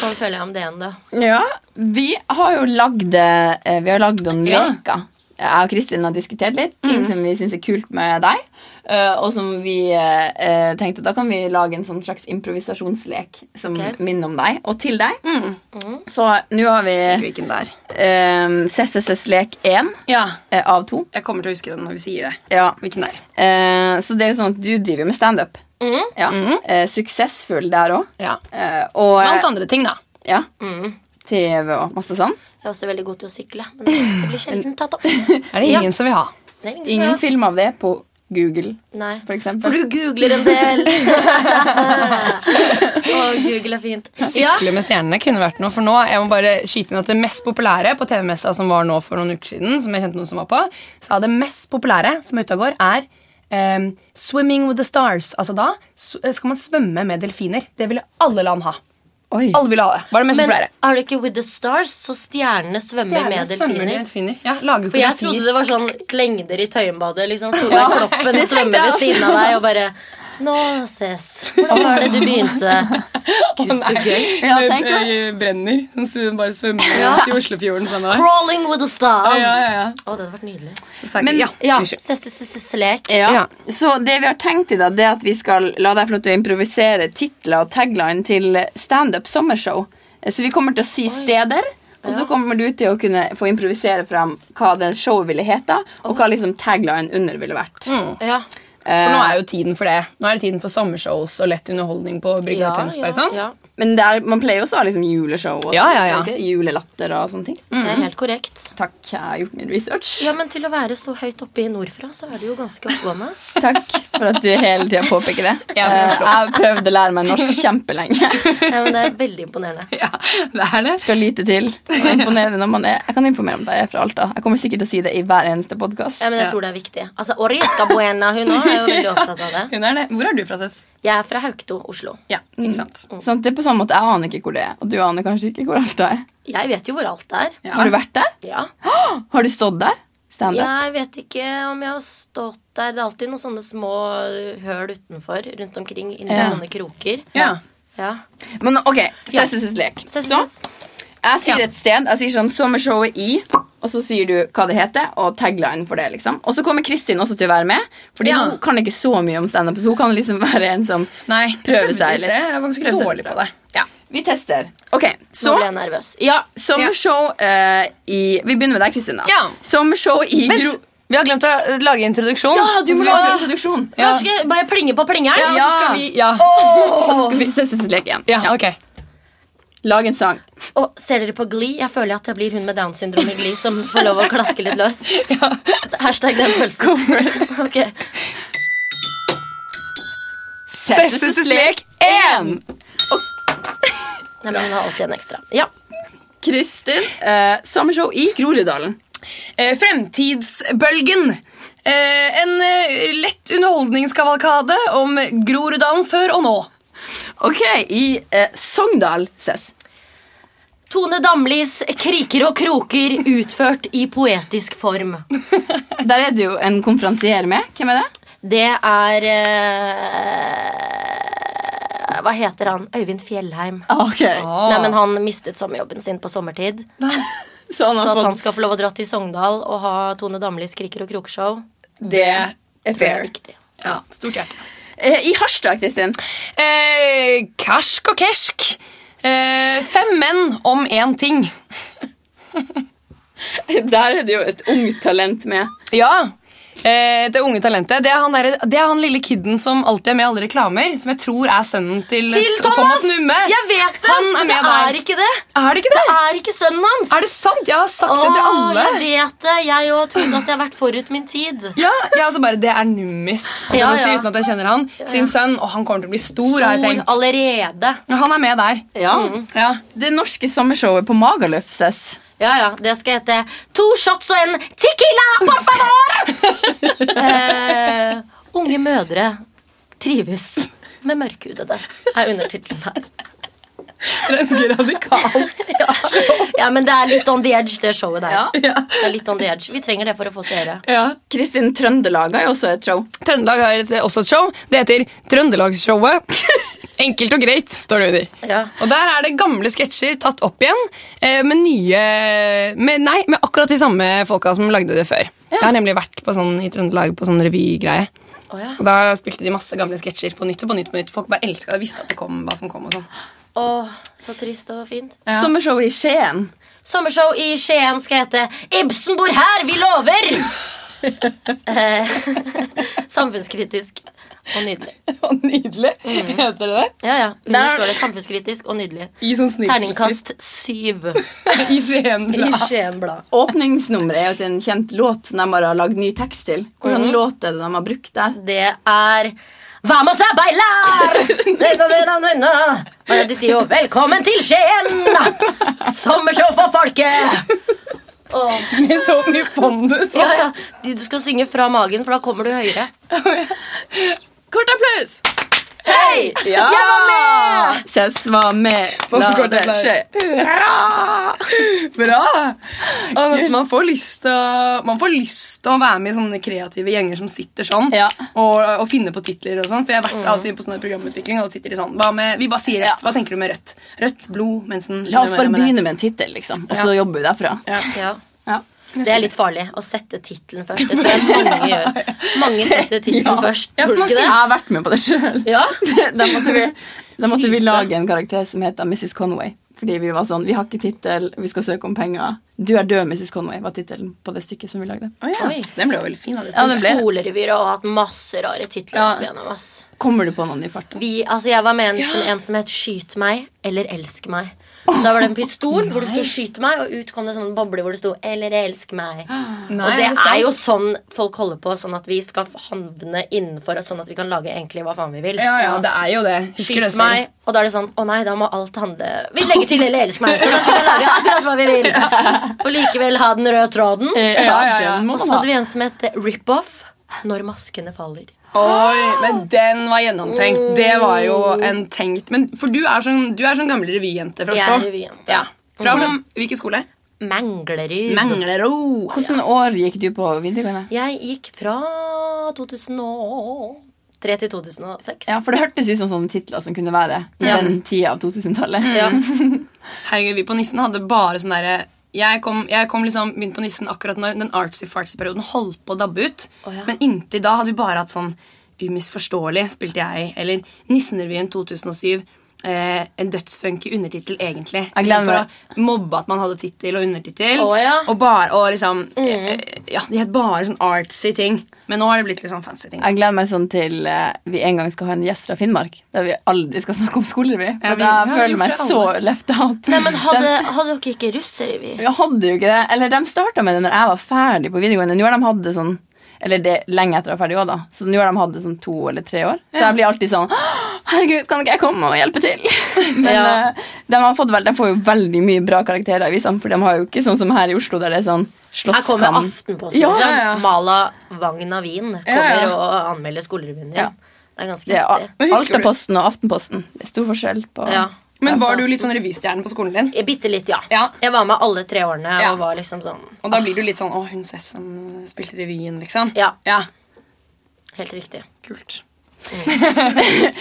S3: Sånn føler jeg om DN, da.
S1: Ja, vi har jo lagd eh, Vi har lagd noen
S2: Ja.
S1: leker. Jeg og Kristin har diskutert litt ting som vi syns er kult med deg. eh, og som vi eh, eh, tenkte da kan vi lage en sånn slags improvisasjonslek som
S3: Ok.
S1: minner om deg og til deg.
S2: Mm.
S3: Mm,
S1: Så nå har vi
S2: Hvilken der.
S1: eh, CCS lek 1
S2: Ja,
S1: eh, av 2.
S2: jeg kommer til å huske den når vi sier det.
S1: Ja.
S2: Hvilken der?
S1: Eh, så det er jo sånn at du driver med standup.
S3: Mhm.
S1: Ja. Eh, suksessfull der òg.
S2: Ja.
S1: og
S2: Blant andre ting, da.
S1: ja, TV og masse sånn.
S3: mm. Jeg er også veldig god til å sykle, men det blir sjelden tatt opp.
S2: Er det ingen som vil ha?
S3: Det er ingen som
S1: Ingen
S3: er-
S1: film av det på Google,
S3: Nei.
S1: for
S3: For
S1: eksempel.
S3: du googler en del. Og Google er fint. Ja.
S2: Sykle med stjernene kunne vært noe for nå. Jeg må bare skyte inn at Det mest populære på TV-messa som var nå for noen uker siden, som jeg kjente noen som var på, sa det mest populære som er ute og går, er ehm, 'Swimming with the stars'. Altså da s- skal man svømme med delfiner. Det ville alle land ha.
S1: Oi.
S2: Alle ville ha det. Var Sånn det mest
S3: Men
S2: populære.
S3: er det ikke With the Stars, så stjernene svømmer
S2: Stjerne
S3: med
S2: svømmer med
S3: delfiner?
S2: delfiner. Ja, lage
S3: For jeg
S2: koreografier.
S3: trodde det var sånn lengder i Tøyenbadet. liksom Solveig Kloppen svømmer ved siden av deg og bare Nå ses. Hvordan var det du begynte? Gud,
S1: *laughs*
S3: så gøy.
S1: Ja, tenk
S2: eh,
S1: det.
S2: brenner. sånn Som bare svømmer til Oslofjorden sammen
S3: Crawling with the stars.
S2: Ja, ja, ja.
S3: Å, det hadde vært nydelig.
S1: Men-
S2: ja,
S3: Ja,
S2: unnskyld.
S3: Ses-ses-ses-lek.
S1: Ja.
S2: Ja.
S1: Så det vi har tenkt i dag, det er at vi skal la deg få lov til å improvisere titler og tagline til standup sommershow. Eh, Så vi kommer til å si steder, og så kommer du til å kunne få improvisere fram hva det showet ville hete, og hva liksom tagline under ville vært.
S2: Mm.
S3: Ja.
S2: For nå
S1: Eh,
S2: er jo tiden for det. Nå er det tiden for sommershows og lett underholdning på Brygga
S3: Ja,
S2: og Tønsberg.
S3: ja,
S2: sant?
S3: ja.
S1: Men det er- man pleier jo også å ha liksom juleshow og
S2: Ja,
S1: sånt,
S2: ja, ja.
S1: ikke? julelatter og sånne ting.
S3: Det er helt korrekt.
S1: Takk, jeg har gjort min research.
S3: Ja, men til å være så høyt oppe i nordfra, så er det jo ganske oppegående.
S1: Takk for at du hele tida påpeker det.
S2: Ja,
S1: Eh,
S2: det er
S1: jeg har prøvd å lære meg norsk kjempelenge.
S3: Ja, men det er veldig imponerende.
S2: *laughs* Ja, det er det.
S1: Skal lite til. Og imponere når man er Jeg kan informere om deg, jeg er fra Alta. Jeg kommer sikkert til å si det i hver eneste podkast.
S3: Ja, men jeg tror det er viktig. Altså, Orieta Buena, hun også er jo veldig opptatt av det.
S2: *laughs* Hun er det. Hvor er du fra, Tess?
S3: Jeg er fra Haukto, Oslo.
S2: Ja, ikke sant?
S1: Sånn, det er på samme måte, Jeg aner ikke hvor det er, og du aner kanskje ikke hvor Alta er.
S3: Jeg vet jo hvor alt er.
S2: Ja.
S1: Har du vært der?
S3: Ja.
S1: Har du stått der? Standup?
S3: Jeg vet ikke om jeg har stått der. Det er alltid noen sånne små høl utenfor, rundt omkring, inni
S1: Ja.
S3: sånne kroker.
S2: Ja.
S3: Ja.
S1: Men ok, Sesses lek.
S3: Ses,
S1: Så,
S3: ses.
S1: jeg sier et sted. Jeg sier sånn Sommershowet i. Og så sier du hva det heter, og tagline for det. liksom Og så kommer Kristin også til å være med, Fordi
S2: Ja.
S1: hun kan ikke så mye om standup. Så hun kan liksom *laughs* være en som
S2: Nei,
S1: prøve
S2: prøve
S1: seg
S2: seg
S1: litt.
S2: Jeg var ganske
S1: Prøve seg
S2: dårlig
S1: litt.
S2: på det. Ja.
S1: Vi tester. Ok,
S3: Nå
S1: så
S3: ble jeg nervøs. Ja.
S1: Sommershow eh, i Vi begynner med deg, Kristina.
S2: Ja.
S1: Sommershow i Gro...
S2: Vent, vi har glemt å eh, lage introduksjon.
S1: Ja, Ah, du
S2: Så
S1: må
S2: vi-
S1: lage en introduksjon.
S2: Ja.
S3: Kanskje jeg bare plinge på
S2: Ja,
S3: plingeren?
S2: og så skal vi Ja,
S1: Og så skal vi se siste lek igjen.
S2: ja ok.
S1: Lag en sang.
S3: Og ser dere på Glee? Jeg føler at jeg blir hun med Downs syndrom i Glee som får lov å klaske litt løs. Hashtag den følelsen. *laughs* Ok.
S2: Sesses lek
S1: én!
S3: Nej, men jag har alltid en extra. Ja.
S1: Kristin, eh, sommershow i Groruddalen.
S2: Eh, Fremtidsbølgen. Eh, en eh, lett underholdningskavalkade om Groruddalen før og nå.
S1: Ok, i eh, Sogndal ses.
S3: Tone Damlis kriker og kroker utført i poetisk form.
S1: Der er det jo en konferansier med. Hvem er det?
S3: Det er eh, Hva heter han? Øyvind Fjellheim.
S2: Ah.
S1: Ah, Ok,
S3: Nei, men Han mistet sommerjobben sin på sommertid.
S1: Så han
S3: Så
S1: Sånn har
S3: at han
S1: fått
S3: skal få lov å dra til Sogndal og ha Tone Damlis kriker og kroker-show
S1: det er
S3: det er
S1: fair.
S3: viktig.
S2: Ja, stort hjerte.
S1: Eh, I Harstad, Kristin.
S2: Eh, karsk og kersk. Eh, fem menn om én ting.
S1: Der er det jo et ungt talent med.
S2: Ja. Eh, det unge talentet. Det er, han derre- det er han lille kiden som alltid er med i alle reklamer. Som jeg tror er sønnen til,
S3: Til
S2: T-
S3: Thomas!
S2: Numme.
S3: Jeg vet det,
S2: Han er
S3: men det
S2: med der.
S3: er ikke det.
S2: Er det ikke det?
S3: Det er ikke sønnen hans.
S2: Er det sant? Jeg har sagt det til
S3: Åh,
S2: alle.
S3: jeg vet det. Jeg òg trodde at jeg har vært forut min tid.
S2: Ja, jeg også bare, Det er Nummis, kan
S3: Ja,
S2: man si,
S3: ja.
S2: uten at jeg kjenner han. Sin sønn, og han kommer til å bli stor, har jeg tenkt.
S3: allerede.
S2: Men Han er med der.
S1: Ja.
S2: Ja.
S1: Det norske sommershowet på Magaluf ses.
S3: Ja, ja, Det skal hete To shots og en tequila, por favor! eh, unge mødre trives med mørkhudede, er undertittelen her.
S2: Ganske radikalt.
S3: Ja, men det er litt on the edge, det showet der.
S1: Ja.
S2: Ja.
S3: Det er litt on the edge. Vi trenger det for å få seere.
S2: Ja.
S1: Kristin Trøndelag har jo også et show.
S2: Trøndelag har et- også et show. Det heter Trøndelagsshowet. *laughs* Enkelt og greit, står det under.
S3: Ja.
S2: Og Der er det gamle sketsjer tatt opp igjen eh, med nye med, Nei, med akkurat de samme folka som lagde det før. Jeg har nemlig vært på sånn, i Trøndelag på sånn revygreie.
S3: Å, ja.
S2: Og Da spilte de masse gamle sketsjer på nytt og på nytt. på nytt Folk bare elska det, visste at det kom hva som kom. og sånn *laughs*
S3: Åh, så trist og fint.
S2: Ja.
S1: Sommershowet i Skien.
S3: Sommershow i Skien skal hete 'Ibsen bor her, vi *laughs* lover'! eh, *laughs* samfunnskritisk og nydelig.
S2: Nydelig. Heter det det?
S3: Ja, ja.
S1: Der-
S3: Under står det samfunnskritisk og nydelig.
S2: I sånn snitt.
S3: Terningkast syv.
S2: *laughs* I Skien.
S3: I Skien Blad.
S1: Åpningsnummeret er jo til en kjent låt som de bare har lagd ny tekst til. Hvordan
S2: Mhm.
S1: låt er det de har brukt der?
S3: Det er Vamos a bailar! Nei, da, da, da, da, da. De sier jo 'Velkommen til Skien'! Sommershow for folket! Åh,
S2: Med sånn så mye fondus.
S3: ja, ja. De- Du skal synge fra magen, for da kommer du høyere.
S1: Kort applaus!
S3: Hei!
S1: Ja!
S3: Jeg var med!
S1: Ses var med. La
S2: kort
S1: det
S2: applaus.
S1: skje.
S2: Bra! Og Man får, lyst til, å- man får lyst til å være med i sånne kreative gjenger som sitter sånn.
S1: Ja. Mm.
S2: Og, og finne på titler og sånn. For jeg har vært alltid på sånne programutvikling, og da sitter de sånn. Hva med, vi bare sier rødt. Hva tenker du med rødt? Rødt blod, mensen
S1: La oss bare
S2: med det.
S1: begynne med en tittel, liksom, og så jobber vi derfra.
S2: Ja.
S3: Ja.
S1: Ja.
S3: Det er litt farlig å sette tittelen først. Det tror jeg mange gjør. Mange
S1: *laughs*
S3: setter tittelen først.
S1: Ja,
S3: Tror
S1: for
S3: du
S1: man-
S3: ikke
S1: Jeg
S3: det?
S1: har vært med på det sjøl.
S3: Ja.
S1: *laughs* Da måtte, vi, da måtte vi lage en karakter som heter Mrs. Conway. Fordi vi var sånn, vi har ikke tittel, vi skal søke om penger. Du er død, Mrs. Conway, var tittelen på det stykket som vi lagde.
S2: Å ja.
S3: Oi.
S2: Den ble jo veldig fin. av det
S1: Ja, den ble-
S3: Skolerevyer har hatt masse rare titler.
S2: Ja.
S3: opp igjennom, ass.
S1: Kommer du på noen i farta?
S3: Vi, altså jeg var med en som, en som het 'Skyt meg eller elsk meg'. Da var det en pistol hvor det sto 'skyt meg', og ut kom det sånne bobler hvor det sto 'eller elsk meg'.
S2: Nei,
S3: og det
S2: er det
S3: er
S2: sant?
S3: jo sånn folk holder på, sånn at vi skal havne innenfor, og sånn at vi kan lage egentlig hva faen vi vil.
S2: Ja, ja, det er jo det. Husker det
S3: Skyt
S2: selv.
S3: meg, og da er det sånn Å nei, da må alt handle Vi legger til 'eller elsk meg', så da kan vi lage akkurat hva
S2: *laughs*
S3: vi vil. Og likevel ha den røde tråden.
S1: Eh,
S2: ja, ja, ja.
S1: den må
S3: Og så
S1: man ha.
S3: hadde vi en som het 'Rip-off når maskene faller'.
S2: Oi,
S3: Ah!
S2: men den var gjennomtenkt. Det var jo en tenkt men, For du er sånn, du er sånn gammel revyjente fra
S3: Oh. Jeg er
S2: Oslo.
S3: revyjente. Mm.
S2: Ja. Fra hvilken skole?
S3: Manglerud.
S2: Manglerud.
S1: Hvordan år gikk du på videregående?
S3: Jeg gikk fra 2003 til 2006.
S1: Ja, for det hørtes ut som sånne titler som kunne være i den tida av 2000-tallet.
S3: Ja.
S2: Herregud, vi på Nissen hadde bare sånn derre jeg kom, jeg kom liksom, begynte på Nissen akkurat når den artsy-fartsy-perioden holdt på å dabbe ut.
S3: Å, ja.
S2: Men inntil da hadde vi bare hatt sånn Umisforståelig spilte jeg, eller Nissenrevyen 2007. Eh, en dødsfunky undertittel, egentlig.
S1: Jeg
S2: Liksom
S1: glemmer.
S2: for å mobbe at man hadde tittel og undertittel.
S3: Å, ja. Mm.
S2: Og bare, og liksom eh, Ja, De het bare sånn artsy ting. Men nå har det blitt litt sånn fancy ting.
S1: Jeg gleder meg sånn til eh, vi en gang skal ha en gjest fra Finnmark. Der vi aldri skal snakke om skolerevy.
S2: Ja,
S1: For
S2: vi-
S1: da
S2: ja, vi
S1: føler
S2: gjorde
S1: jeg meg
S2: det alle.
S1: så left out.
S3: Nei, men hadde, hadde dere ikke russerevy?
S1: Vi hadde jo ikke det. Eller de starta med det når jeg var ferdig på videregående. Nå har de hatt det sånn Eller det er lenge etter jeg var ferdig òg, da. Så nå har de hatt det sånn to eller tre år. Så jeg blir alltid sånn «Åh, herregud, kan ikke jeg komme og hjelpe
S3: *laughs*
S1: til? Men
S3: Ja.
S1: eh, de, har fått vel, de får jo veldig mye bra karakterer i avisene, for de har jo ikke sånn som her i Oslo, der det er sånn
S3: Her kommer
S1: slåsskamp.
S3: Aftenposten.
S1: Ja,
S3: liksom.
S2: ja, ja.
S3: Mala Wagna Wien kommer
S2: Ja, ja.
S3: og anmelder skolerevyen din.
S1: Ja.
S3: Det er ganske
S1: Det er
S3: heftig.
S1: A-
S2: Men husker du-
S1: Altaposten og Aftenposten. Det er stor forskjell på
S3: Ja.
S2: Men var du litt sånn revystjerne på skolen din?
S3: Bitte litt, ja.
S2: Ja.
S3: Jeg var med alle tre årene
S2: Ja.
S3: og var liksom sånn
S2: Og da blir du litt sånn 'Å, hun Cess som spilte revyen', liksom.
S3: Ja.
S2: ja.
S3: Helt riktig.
S2: Kult.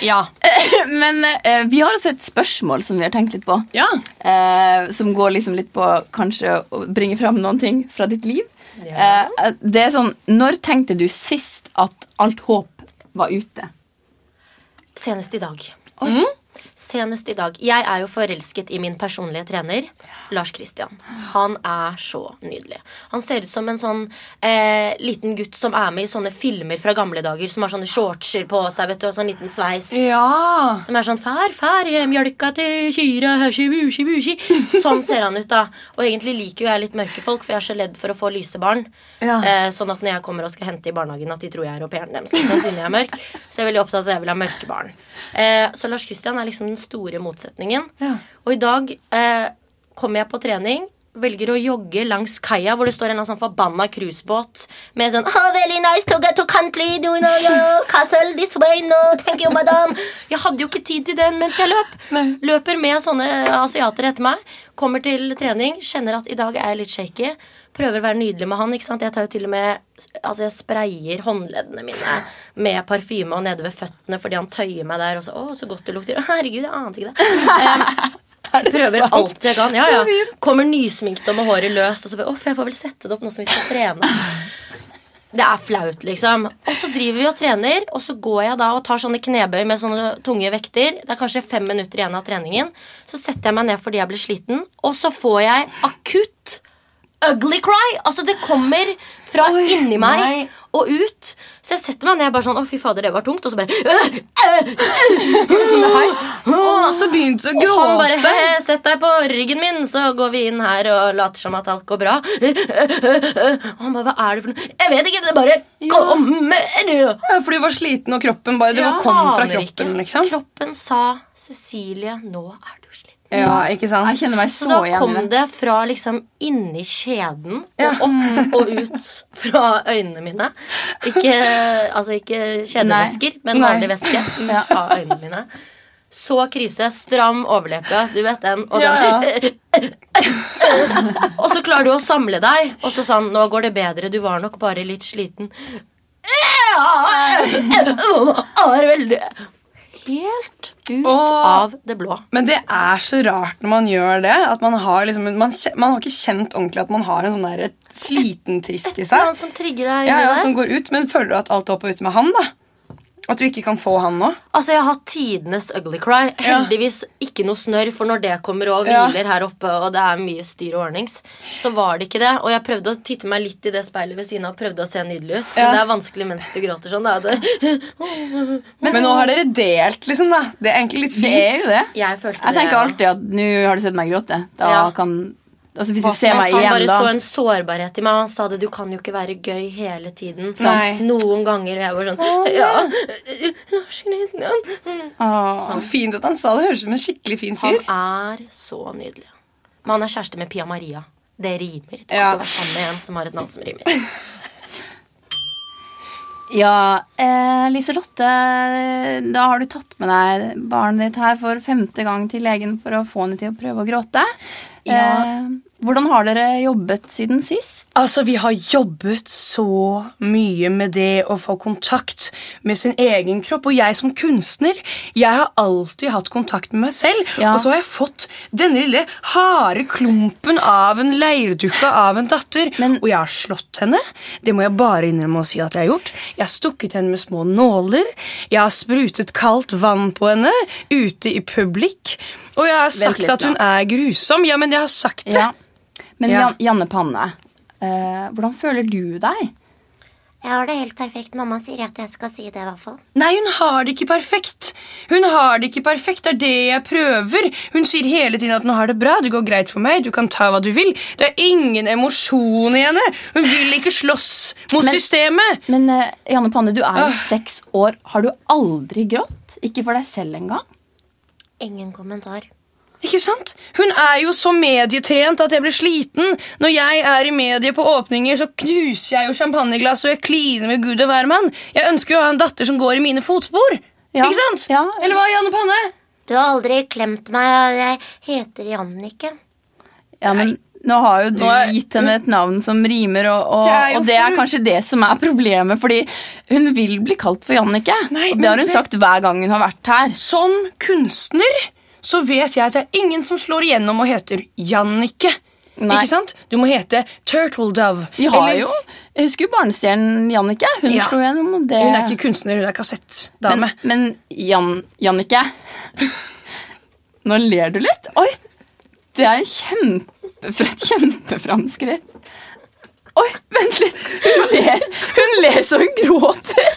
S2: ja.
S1: *laughs* Men eh, vi har også et spørsmål som vi har tenkt litt på.
S2: ja.
S1: Eh, som går liksom litt på kanskje å bringe fram noen ting fra ditt liv.
S3: Ja.
S1: Eh, det er sånn, Når tenkte du sist at alt håp var ute?
S3: Senest i dag. Mm. Senest i dag. Jeg er jo forelsket i min personlige trener, Lars Christian. Han er så nydelig. Han ser ut som en sånn eh, liten gutt som er med i sånne filmer fra gamle dager, som har sånne shortser på seg, vet du, og sånn liten sveis.
S2: Ja.
S3: Som er sånn fær, fær, hjem, mjølka til kyra, hørsi, busi, busi. Sånn ser han ut, da. Og egentlig liker jo jeg litt mørke folk, for jeg er så redd for å få lyse barn.
S2: Ja.
S3: Eh, sånn at når jeg kommer og skal hente i barnehagen, at de tror jeg er au pairen deres. Liksom, siden jeg er mørk. Så jeg er veldig opptatt av at jeg vil ha mørke barn. Eh, så Lars Christian er liksom den store motsetningen.
S2: Ja.
S3: Og i dag eh, kommer jeg på trening. Velger å jogge langs kaia hvor det står en eller annen sånn forbanna cruisebåt med sånn oh, very nice to get to country, do you know your castle this way, no, thank you, madam. Jeg hadde jo ikke tid til den mens jeg løp. Løper med sånne asiater etter meg. Kommer til trening, kjenner at i dag er jeg litt shaky. Prøver å være nydelig med han. ikke sant? Jeg tar jo til og med, altså jeg sprayer håndleddene mine med parfyme og nede ved føttene fordi han tøyer meg der. og så, å, så godt det lukter. Herregud, jeg ante ikke det. Em, Prøver alt jeg kan. Ja, ja. Kommer nysminket og med håret løst. Og så bare, Uff, jeg får vel sette det opp nå som vi skal trene. Det er flaut, liksom. Og så driver vi og trener, og så går jeg da og tar sånne knebøy med sånne tunge vekter. Det er kanskje fem minutter igjen av treningen. Så setter jeg meg ned fordi jeg blir sliten, og så får jeg akutt ugly cry. Altså, det kommer fra inni meg
S2: nei.
S3: og ut. Så jeg setter meg ned bare sånn Å, fy fader, det var tungt. Og så bare øh,
S2: Nei. Og så begynte du å
S3: Og han bare
S2: gråte.
S3: «He, Sett deg på ryggen min, så går vi inn her og later som at alt går bra. Og han bare Hva er det for noe? Jeg vet ikke, det bare kommer.
S2: Ja, for du var sliten, og kroppen bare, det
S3: Jeg
S2: bare kom fra
S3: aner
S2: kroppen.
S3: ikke.
S2: liksom.
S3: Kroppen sa Cecilie, nå er du sliten.
S2: Ja, ikke sant?
S1: Jeg kjenner meg
S3: Så,
S1: så,
S3: da
S1: igjen
S3: kom
S1: i det.
S3: det fra liksom inni skjeden
S2: Ja.
S3: og opp og ut fra øynene mine. Ikke, altså ikke kjedevæsker, men
S2: Nei.
S3: vanlig væske ut av øynene mine. Så krise. Stram overleppe. Du vet den. Og,
S2: Ja,
S3: den. og så klarer du å samle deg, og så sa han nå går det bedre, du var nok bare litt sliten. Ja, jeg var veldig Helt ut
S2: Åh.
S3: av det blå.
S2: Men det er så rart når man gjør det. at Man har liksom, man, kje- man har ikke kjent ordentlig at man har en sånn der sliten trist i
S3: Det er *laughs*
S2: seg.
S3: han som trigger deg.
S2: Ja,
S3: inni
S2: ja,
S3: der.
S2: som går ut, Men føler du at alt håpet er ute med han? da? At du ikke kan få han nå?
S3: Altså, Jeg har hatt tidenes ugly cry.
S2: Ja.
S3: Heldigvis ikke noe snørr, for når det kommer og
S2: Ja.
S3: hviler her oppe, og det er mye styr og ordnings, så var det ikke det. Og jeg prøvde å titte meg litt i det speilet ved siden av og prøvde å se nydelig ut.
S2: Ja.
S3: Men det er vanskelig mens du gråter sånn. Da. Det, *laughs*
S2: Men, nå har dere delt, liksom. da. Det er egentlig litt fint.
S1: Det er jo det.
S3: jeg følte
S1: Jeg
S3: det.
S1: tenker alltid at nå har du sett meg gråte. Da
S3: Ja.
S1: kan Altså Hvis
S2: Hva
S1: du ser
S2: som
S1: meg
S3: Han
S1: igjen,
S3: bare
S1: da
S3: så en sårbarhet i meg, og han sa det. Du kan jo ikke være gøy hele tiden.
S2: Nei.
S3: Noen ganger. Og jeg var sånn
S2: Sånn,
S3: Ja. *laughs* Lars Christian.
S1: Åh.
S2: Så fint at han sa det. Høres ut som en skikkelig fin fyr.
S3: Han er så nydelig. Men han er kjæreste med Pia Maria. Det rimer. Det kan
S2: Ja.
S3: ikke være sammen med en som har et navn som rimer.
S1: Ja, eh, Liselotte, da har du tatt med deg barnet ditt her for femte gang til legen for å få henne til å prøve å gråte.
S2: Ja.
S1: Eh, hvordan har dere jobbet siden sist?
S2: Altså, Vi har jobbet så mye med det å få kontakt med sin egen kropp. Og jeg som kunstner jeg har alltid hatt kontakt med meg selv.
S1: Ja.
S2: Og så har jeg fått denne lille harde klumpen av en leirdukke av en datter.
S1: Men-
S2: og jeg har slått henne. Det må jeg bare innrømme å si at jeg har gjort. Jeg har stukket henne med små nåler. Jeg har sprutet kaldt vann på henne ute i publikk. Og jeg har sagt
S1: litt
S2: at hun er grusom. Ja, men jeg har sagt det.
S1: Ja. Men
S2: Ja.
S1: Jan Janne Panne, eh, hvordan føler du deg?
S4: Jeg har det helt perfekt. Mamma sier at jeg skal si det, i hvert fall.
S2: Nei, hun har det ikke perfekt. Hun har det ikke perfekt, det er det jeg prøver. Hun sier hele tiden at hun har det bra, det går greit for meg, du kan ta hva du vil. Det er ingen emosjon i henne. Hun vil ikke slåss mot
S1: Men-
S2: systemet.
S1: Men eh, Janne Panne, du er jo seks år. Har du aldri grått? Ikke for deg selv engang?
S4: Ingen kommentar.
S2: Ikke sant? Hun er jo så medietrent at jeg blir sliten. Når jeg er i mediet på åpninger, så knuser jeg jo champagneglass og jeg kliner med gud og hvermann. Jeg ønsker jo å ha en datter som går i mine fotspor.
S1: Ja.
S2: Ikke sant?
S1: Ja.
S2: Eller hva, Janne Panne?
S4: Du har aldri klemt meg, og jeg heter Jannicke.
S1: Ja, men nå har jo du
S2: Nå er-
S1: gitt henne et navn som rimer, og, og,
S2: Det er jo
S1: og det er
S2: for-
S1: kanskje det som er problemet. Fordi hun vil bli kalt for Jannicke.
S2: Nei,
S1: Og
S2: men
S1: det har hun
S2: det-
S1: sagt hver gang hun har vært her.
S2: Som kunstner så vet jeg at det er ingen som slår igjennom og heter Jannicke.
S1: Nei.
S2: Ikke sant? Du må hete Turtle Dove.
S1: Vi har
S2: Eller-
S1: jo, Jeg husker jo barnestjernen Jannicke. Hun
S2: Ja.
S1: slo gjennom. og Det...
S2: Hun er ikke kunstner, hun er kassettdame.
S1: eh, men, men Jan, Jannicke Nå ler du litt. Oi! Det er kjempe, for et kjempeframskritt. Oi, vent litt. Hun ler, hun ler så hun gråter.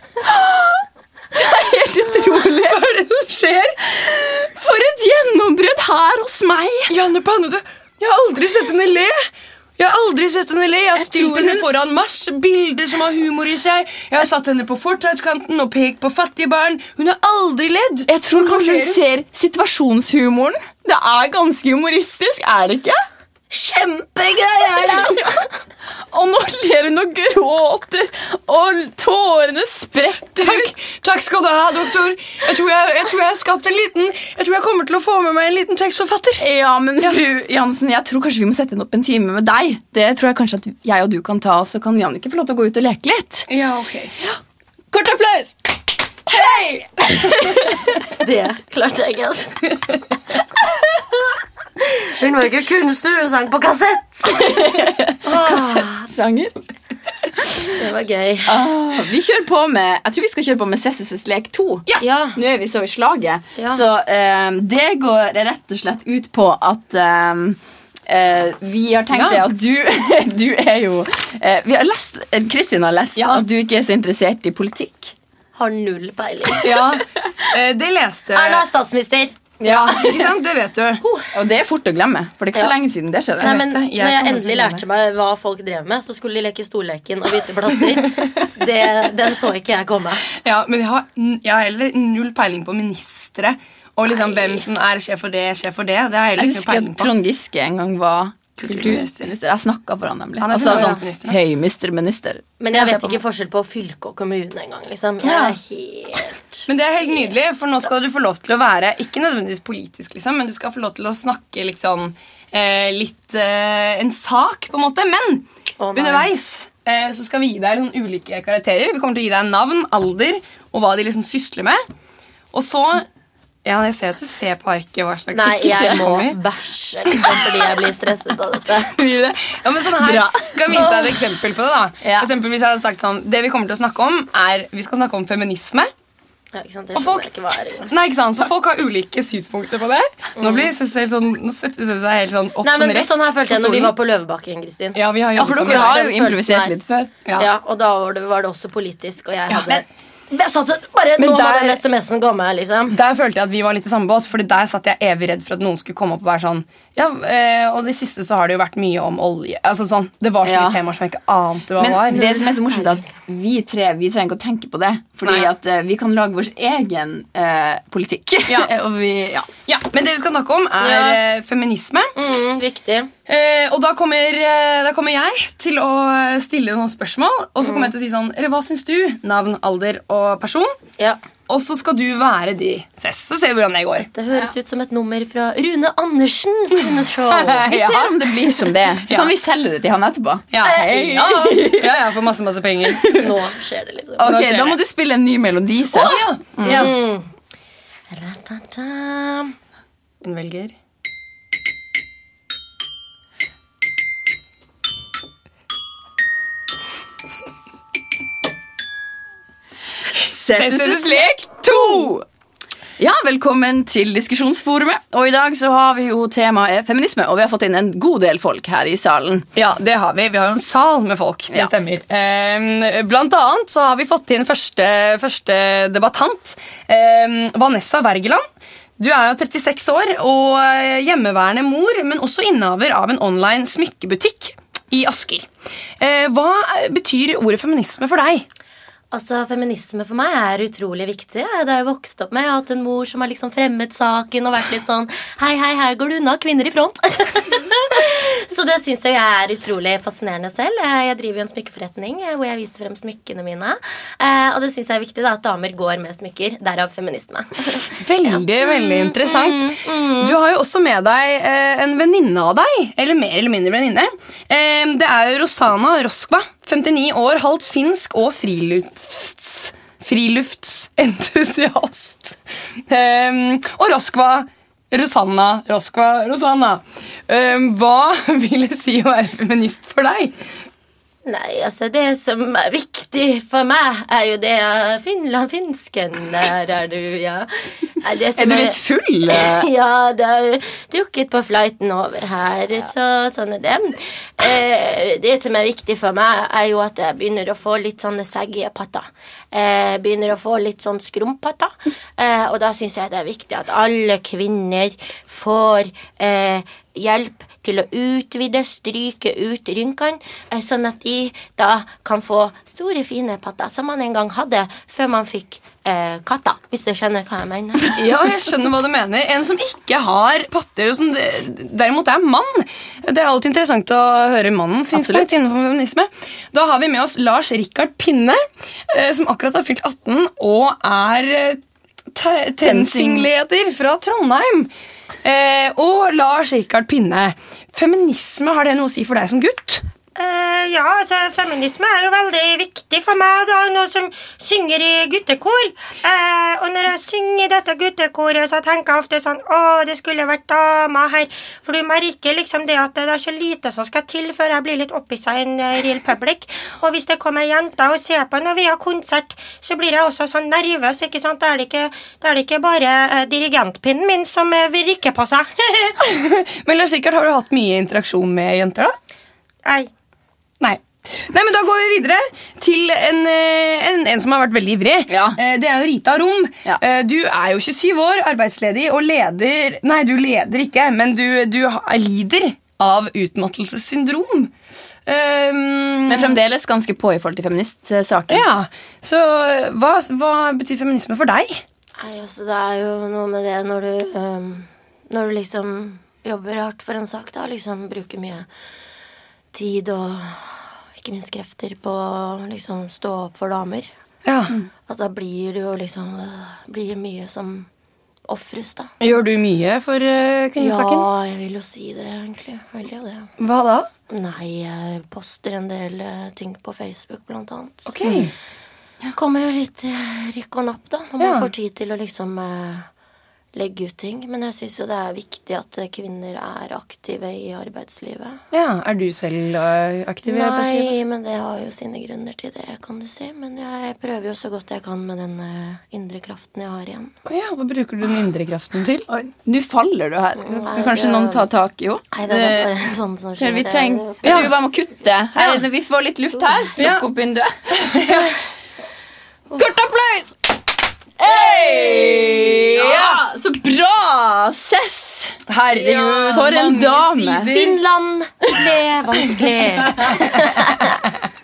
S1: Det er helt utrolig. Hva er det som skjer? For et gjennombrudd her hos meg.
S2: Janne Panne, du, jeg har aldri sett henne le. Jeg har aldri sett henne le. Jeg har
S1: Jeg
S2: stilt
S1: tror
S2: henne
S1: hun-
S2: foran masse bilder som har humor i seg. Jeg har satt henne på fortauskanten og pekt på fattige barn. Hun har aldri ledd.
S1: Jeg tror kanskje
S2: ler
S1: hun ser situasjonshumoren. Det er ganske humoristisk, er det ikke?
S4: Kjempegreier, da!
S1: Og nå ler hun og gråter, og tårene spretter.
S2: Takk, takk skal du ha, doktor. Jeg tror jeg, jeg tror jeg har skapt en liten Jeg tror jeg kommer til å få med meg en liten tekstforfatter.
S1: Ja, men fru Jansen, jeg tror kanskje vi må sette henne opp en time med deg. Det tror jeg kanskje at jeg og du kan ta, så kan Jannicke få lov til å gå ut og leke litt.
S2: Ja, ok.
S1: Kort applaus! Hei!
S3: *laughs* Det klarte jeg, ass. *laughs* Hun var jo ikke kunstner, hun sang på *laughs* kassett. Ah.
S1: Ah. Sjanger.
S3: Det var gøy.
S1: Ah, vi kjører på med, jeg tror vi skal kjøre på med Sesses lek 2.
S3: Ja.
S1: Nå er vi så i slaget.
S3: Ja.
S1: Så eh, det går rett og slett ut på at eh, eh, vi har tenkt
S2: Ja.
S1: det at du, *laughs* du er jo eh, Vi har lest, eh, Kristin har lest
S2: Ja.
S1: at du ikke er så interessert i politikk.
S3: Har null peiling.
S2: Ja, eh, det leste
S3: Erna er statsminister.
S1: Ja.
S2: *laughs* Ikke sant? Det vet du.
S1: *laughs* Og det er fort å glemme, for det er ikke så
S3: Ja.
S1: lenge siden det skjedde.
S3: Nei, men
S2: det, jeg
S3: når jeg
S2: kan også
S3: endelig
S2: glemme.
S3: lærte meg hva folk drev med, så skulle de leke storleken og bytte *laughs* plasser. Det, den så ikke jeg komme.
S2: Ja, men jeg har, jeg har heller null peiling på ministre. Og liksom hvem som er sjef for det, sjef for det. Det har jeg heller
S1: Jeg
S2: ikke noe
S1: husker at
S2: peiling på.
S1: Trond Giske en gang var
S2: Kulturminister.
S1: kulturminister. Jeg snakka for han nemlig.
S2: Han er
S1: Og så er
S2: kulturminister,
S1: sånn
S2: ja.
S1: *laughs* høymisterminister.
S3: Men jeg
S2: ser
S3: vet
S2: på
S3: ikke forskjell på fylke og kommune engang. Liksom. Jeg er helt...
S2: Men det er helt nydelig, for nå skal du få lov til å være ikke nødvendigvis politisk, liksom, men du skal få lov til å snakke litt sånn eh, litt eh, en sak, på en måte. Men
S3: Å, nei.
S2: underveis eh, så skal vi gi deg litt sånn ulike karakterer. Vi kommer til å gi deg navn, alder og hva de liksom sysler med. Og så Ja, jeg ser at du ser på arket hva slags
S3: Nei, jeg må
S2: Kommer.
S3: bæsje liksom, fordi jeg blir stresset av dette.
S2: Blir det? Ja, men sånn her
S1: Bra.
S2: Skal jeg vise deg et eksempel på det. da
S1: Ja.
S2: For eksempel hvis jeg hadde sagt sånn Det vi kommer til å snakke om, er Vi skal snakke om feminisme.
S3: Ja, ikke sant?
S2: Og
S3: Jeg
S2: folk-
S3: skjønner ikke hva er engang.
S2: Nei, ikke sant? Så folk har ulike synspunkter på det. Nå blir Cecil helt sånn Nå setter Cecil seg helt sånn opp
S3: Nei, men
S2: sånn rett.
S3: Sånn her følte jeg
S2: på
S3: når vi
S2: stolen.
S3: var på Løvebakken. Kristin
S2: Ja, vi har
S1: Ja, for
S2: jobbet
S1: dere
S2: sammen.
S1: har jo
S3: Den
S1: improvisert
S3: følelsen
S1: litt før.
S2: Ja.
S3: Ja, og da var det, var det også politisk, og jeg
S2: Ja,
S3: hadde
S2: men-
S3: jeg satt og bare,
S2: Men
S3: Nå må
S2: der-
S3: den SMS-en komme, liksom.
S2: Der følte jeg at vi var litt i samme båt, Fordi der satt jeg evig redd for at noen skulle komme opp og være sånn Ja, eh, og det siste så har det jo vært mye om olje Altså sånn Det var så mye
S1: Ja.
S2: temaer som jeg ikke ante hva var.
S1: Men det som er så morsomt, er at vi tre vi trenger ikke å tenke på det. Fordi
S2: Nei.
S1: at eh, vi kan lage vår egen eh, politikk.
S2: Ja.
S1: *laughs* og vi, ja.
S2: ja, men det vi skal snakke om, er
S3: Ja.
S2: eh, feminisme.
S3: Mm, viktig.
S2: Eh, og da kommer, eh, da kommer jeg til å stille noen spørsmål. Og så kommer jeg
S3: Mm.
S2: til å si sånn Eller hva syns du? Navn, alder og person.
S3: Ja.
S2: Og så skal du være de. Ses, så ser vi hvordan det går.
S3: Det høres ut som et nummer fra Rune Andersen
S2: *laughs*
S3: sine show.
S1: Vi
S2: Ja.
S1: ser om det blir som det. Så
S2: Ja.
S1: kan vi selge det til han etterpå.
S2: Ja,
S1: Hei.
S2: Eh, ja. *laughs* ja, jeg får masse, masse penger.
S3: Nå skjer det, liksom.
S1: Ok,
S2: skjer
S1: Da må du spille en ny melodi. Seth.
S2: ja. ja.
S3: Mm. Ratata.
S2: Hun velger.
S1: Cesses lek 2! Ja, Velkommen til diskusjonsforumet. Og I dag så har vi jo temaet feminisme, og vi har fått inn en god del folk her i salen.
S2: Ja, det har vi. Vi har jo en sal med folk. Det
S1: Ja.
S2: stemmer. Ehm, blant annet så har vi fått inn første, første debattant. Ehm, Vanessa Wergeland. Du er jo 36 år og eh, hjemmeværende mor, men også innehaver av en online smykkebutikk i Asker. Eh, hva betyr ordet feminisme for deg?
S3: Altså, Feminisme for meg er utrolig viktig. Jeg- Det har jeg vokst opp med. Jeg har hatt en mor som har liksom fremmet saken og vært litt sånn Hei, hei, her går du unna. Kvinner i front. *laughs* så det syns jeg er utrolig fascinerende selv. Eh, Jeg driver jo en smykkeforretning eh, hvor jeg viser frem smykkene mine. Eh, Og det syns jeg er viktig da, at damer går med smykker. Derav feminisme. *laughs*
S2: Veldig, veldig interessant. Du har jo også med deg eh, en venninne av deg. Eller mer eller mindre venninne. Eh, det er jo Rosana Roskva. 59 år, halvt finsk og frilufts... Friluftsentusiast. Eh, og Roskva Rosanna Roskva Rosanna. Eh, hva *laughs* vil det si å være feminist for deg?
S3: Nei, altså det som er viktig for meg, er jo det eh, Finland, finsken, der er du, ja. Nei, det som
S1: Er du litt full?
S2: eh.
S3: *laughs* Ja, det har drukket på flighten over her. Så, sånn er det. Eh, det som er viktig for meg, er jo at jeg begynner å få litt sånne seggige patter. Eh, begynner å få litt sånn skrumpatter. Eh, og da syns jeg det er viktig at alle kvinner får eh, hjelp til å utvide, stryke ut rynkene, eh, sånn at de da kan få store, fine patter som man en gang hadde før man fikk eh, katter, hvis du skjønner hva jeg mener.
S2: Ja, jeg skjønner hva du mener. En som ikke har patter, og som de- derimot er mann. Det er alltid interessant å høre mannens synspunkt innenfor feminisme. Da har vi med oss Lars Rikard Pinne, eh, som akkurat har fylt 18 og er eh, te- TenSing-leder fra Trondheim. Eh, og Lars Rikard Pinne, feminisme, har det noe å si for deg som gutt? *laughs*
S5: Eh, ja, altså, feminisme er jo veldig viktig for meg. Det er noe som synger i guttekor. Eh, og når jeg synger i dette guttekoret, så tenker jeg ofte sånn Å, det skulle vært dama her. For du merker liksom det at det er så lite som skal til før jeg blir litt opphissa i en eh, real public. Og hvis det kommer jenter og ser på når vi har konsert, så blir jeg også sånn nervøs, ikke sant. Da er det ikke, da er det ikke bare eh, dirigentpinnen min som eh, vil rikke på seg. *laughs*
S2: Men Lars Rikard, har du hatt mye interaksjon med jenter, da?
S5: Nei.
S2: Nei. Nei, men Da går vi videre til en, eh, en, en som har vært veldig ivrig.
S1: Ja.
S2: Eh, Det er jo Rita Rom.
S1: Ja.
S2: Eh, Du er jo 27 år, arbeidsledig og leder Nei, du leder ikke, men du, du ha- er lider av utmattelsessyndrom. Um,
S1: Men fremdeles ganske på i forhold til feministsaken.
S2: Ja, Så hva, hva betyr feminisme for deg?
S3: Nei, altså det er jo noe med det når du øhm, Når du liksom jobber hardt for en sak, da. Liksom bruker mye tid og ikke minst krefter på å liksom stå opp for damer.
S2: Ja.
S3: At da blir det jo liksom øh, Blir mye som ofres, da.
S2: Gjør du mye for eh, kvinnesaken?
S3: Ja, jeg vil jo si det, egentlig. Jeg vil jo det.
S2: Hva da?
S3: Nei, jeg poster en del øh, ting på Facebook, blant annet.
S2: Ok.
S3: kommer jo litt eh, rykk og napp, da. Når man
S2: Ja.
S3: får tid til å liksom eh, legge ut ting. Men jeg syns jo det er viktig at eh, kvinner er aktive i arbeidslivet.
S2: Ja, Er du selv eh, aktiv? i arbeidslivet?
S3: Nei, men det har jo sine grunner til det, kan du si. Men jeg prøver jo så godt jeg kan med den eh, indre kraften jeg har igjen.
S2: Å Ja, Hva bruker du den indre kraften til?
S1: Oi, Nå faller du her.
S3: Nei,
S1: Kanskje
S3: det-
S1: noen tar tak i henne? Eh,
S3: Nei, det er bare *laughs* sånn som skjer.
S1: Vi
S3: Det-
S1: trenger
S2: Ja.
S1: Jeg tror vi bare må kutte. Her, Vi får litt luft her.
S2: Ja.
S1: Lukk opp vinduet. *laughs* Kort applaus! Hey! Ja, så bra! Sess!
S2: Herregud,
S1: For en
S2: mange
S1: dame.
S2: sider.
S3: Finland ble vanskelig.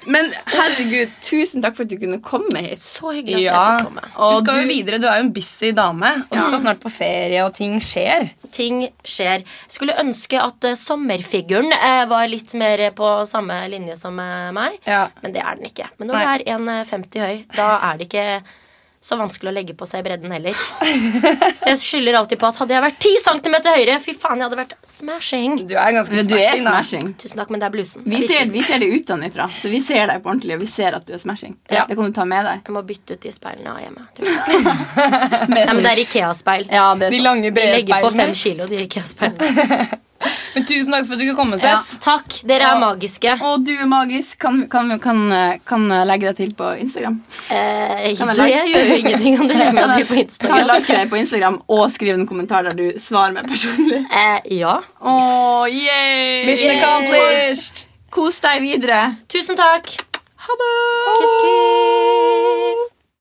S1: Men herregud, tusen takk for at du kunne komme hit.
S3: Så hyggelig at jeg fikk
S2: Ja,
S3: komme.
S2: du
S1: Og
S2: skal jo
S1: du-
S2: videre, du er jo en busy dame Og du skal snart på ferie og ting skjer
S3: ting skjer. Skulle ønske at eh, sommerfiguren eh, var litt mer på samme linje som eh, meg,
S2: Ja.
S3: men det er den ikke. Men når
S2: Nei.
S3: du er 1,50 høy, da er det ikke så vanskelig å legge på seg bredden
S2: *laughs*
S3: heller. Så jeg skylder alltid på at hadde jeg vært 10 cm høyere, fy faen, jeg hadde vært smashing.
S2: Du er ganske
S1: Du er
S2: smashing da.
S1: smashing.
S3: Tusen takk, men det er blusen.
S1: Vi
S3: Jeg liker
S1: ser,
S3: den.
S1: vi ser det utenfra, så vi ser deg på ordentlig, og vi ser at du er smashing.
S2: Ja.
S1: Det kan du ta med deg.
S3: Jeg må bytte ut de speilene jeg har hjemme. tror jeg.
S2: *laughs*
S3: Nei, men det er Ikea-speil.
S1: Ja, det
S2: De
S1: er sånn.
S2: lange
S3: De
S2: brede
S3: legger på
S2: speilene.
S3: 5 kilo, de Ikea-speilene.
S2: Men tusen takk for at du kunne komme, Sess.
S6: Takk. Dere
S1: Ja.
S6: er magiske.
S1: Og du er magisk. Kan, kan, kan, kan jeg legge deg til på Instagram?
S6: Eh,
S1: Kan jeg
S6: det
S1: like-
S6: gjør jo ingenting om du legger meg til på
S1: *laughs* Kan jeg
S6: Instagram.
S1: like deg på Instagram og skrive en kommentar der du svarer meg personlig?
S6: Eh, ja.
S1: Oh, yay!
S2: Mission accomplished!
S1: Kos deg videre.
S6: Tusen takk.
S1: Ha det!
S6: Kiss, kiss.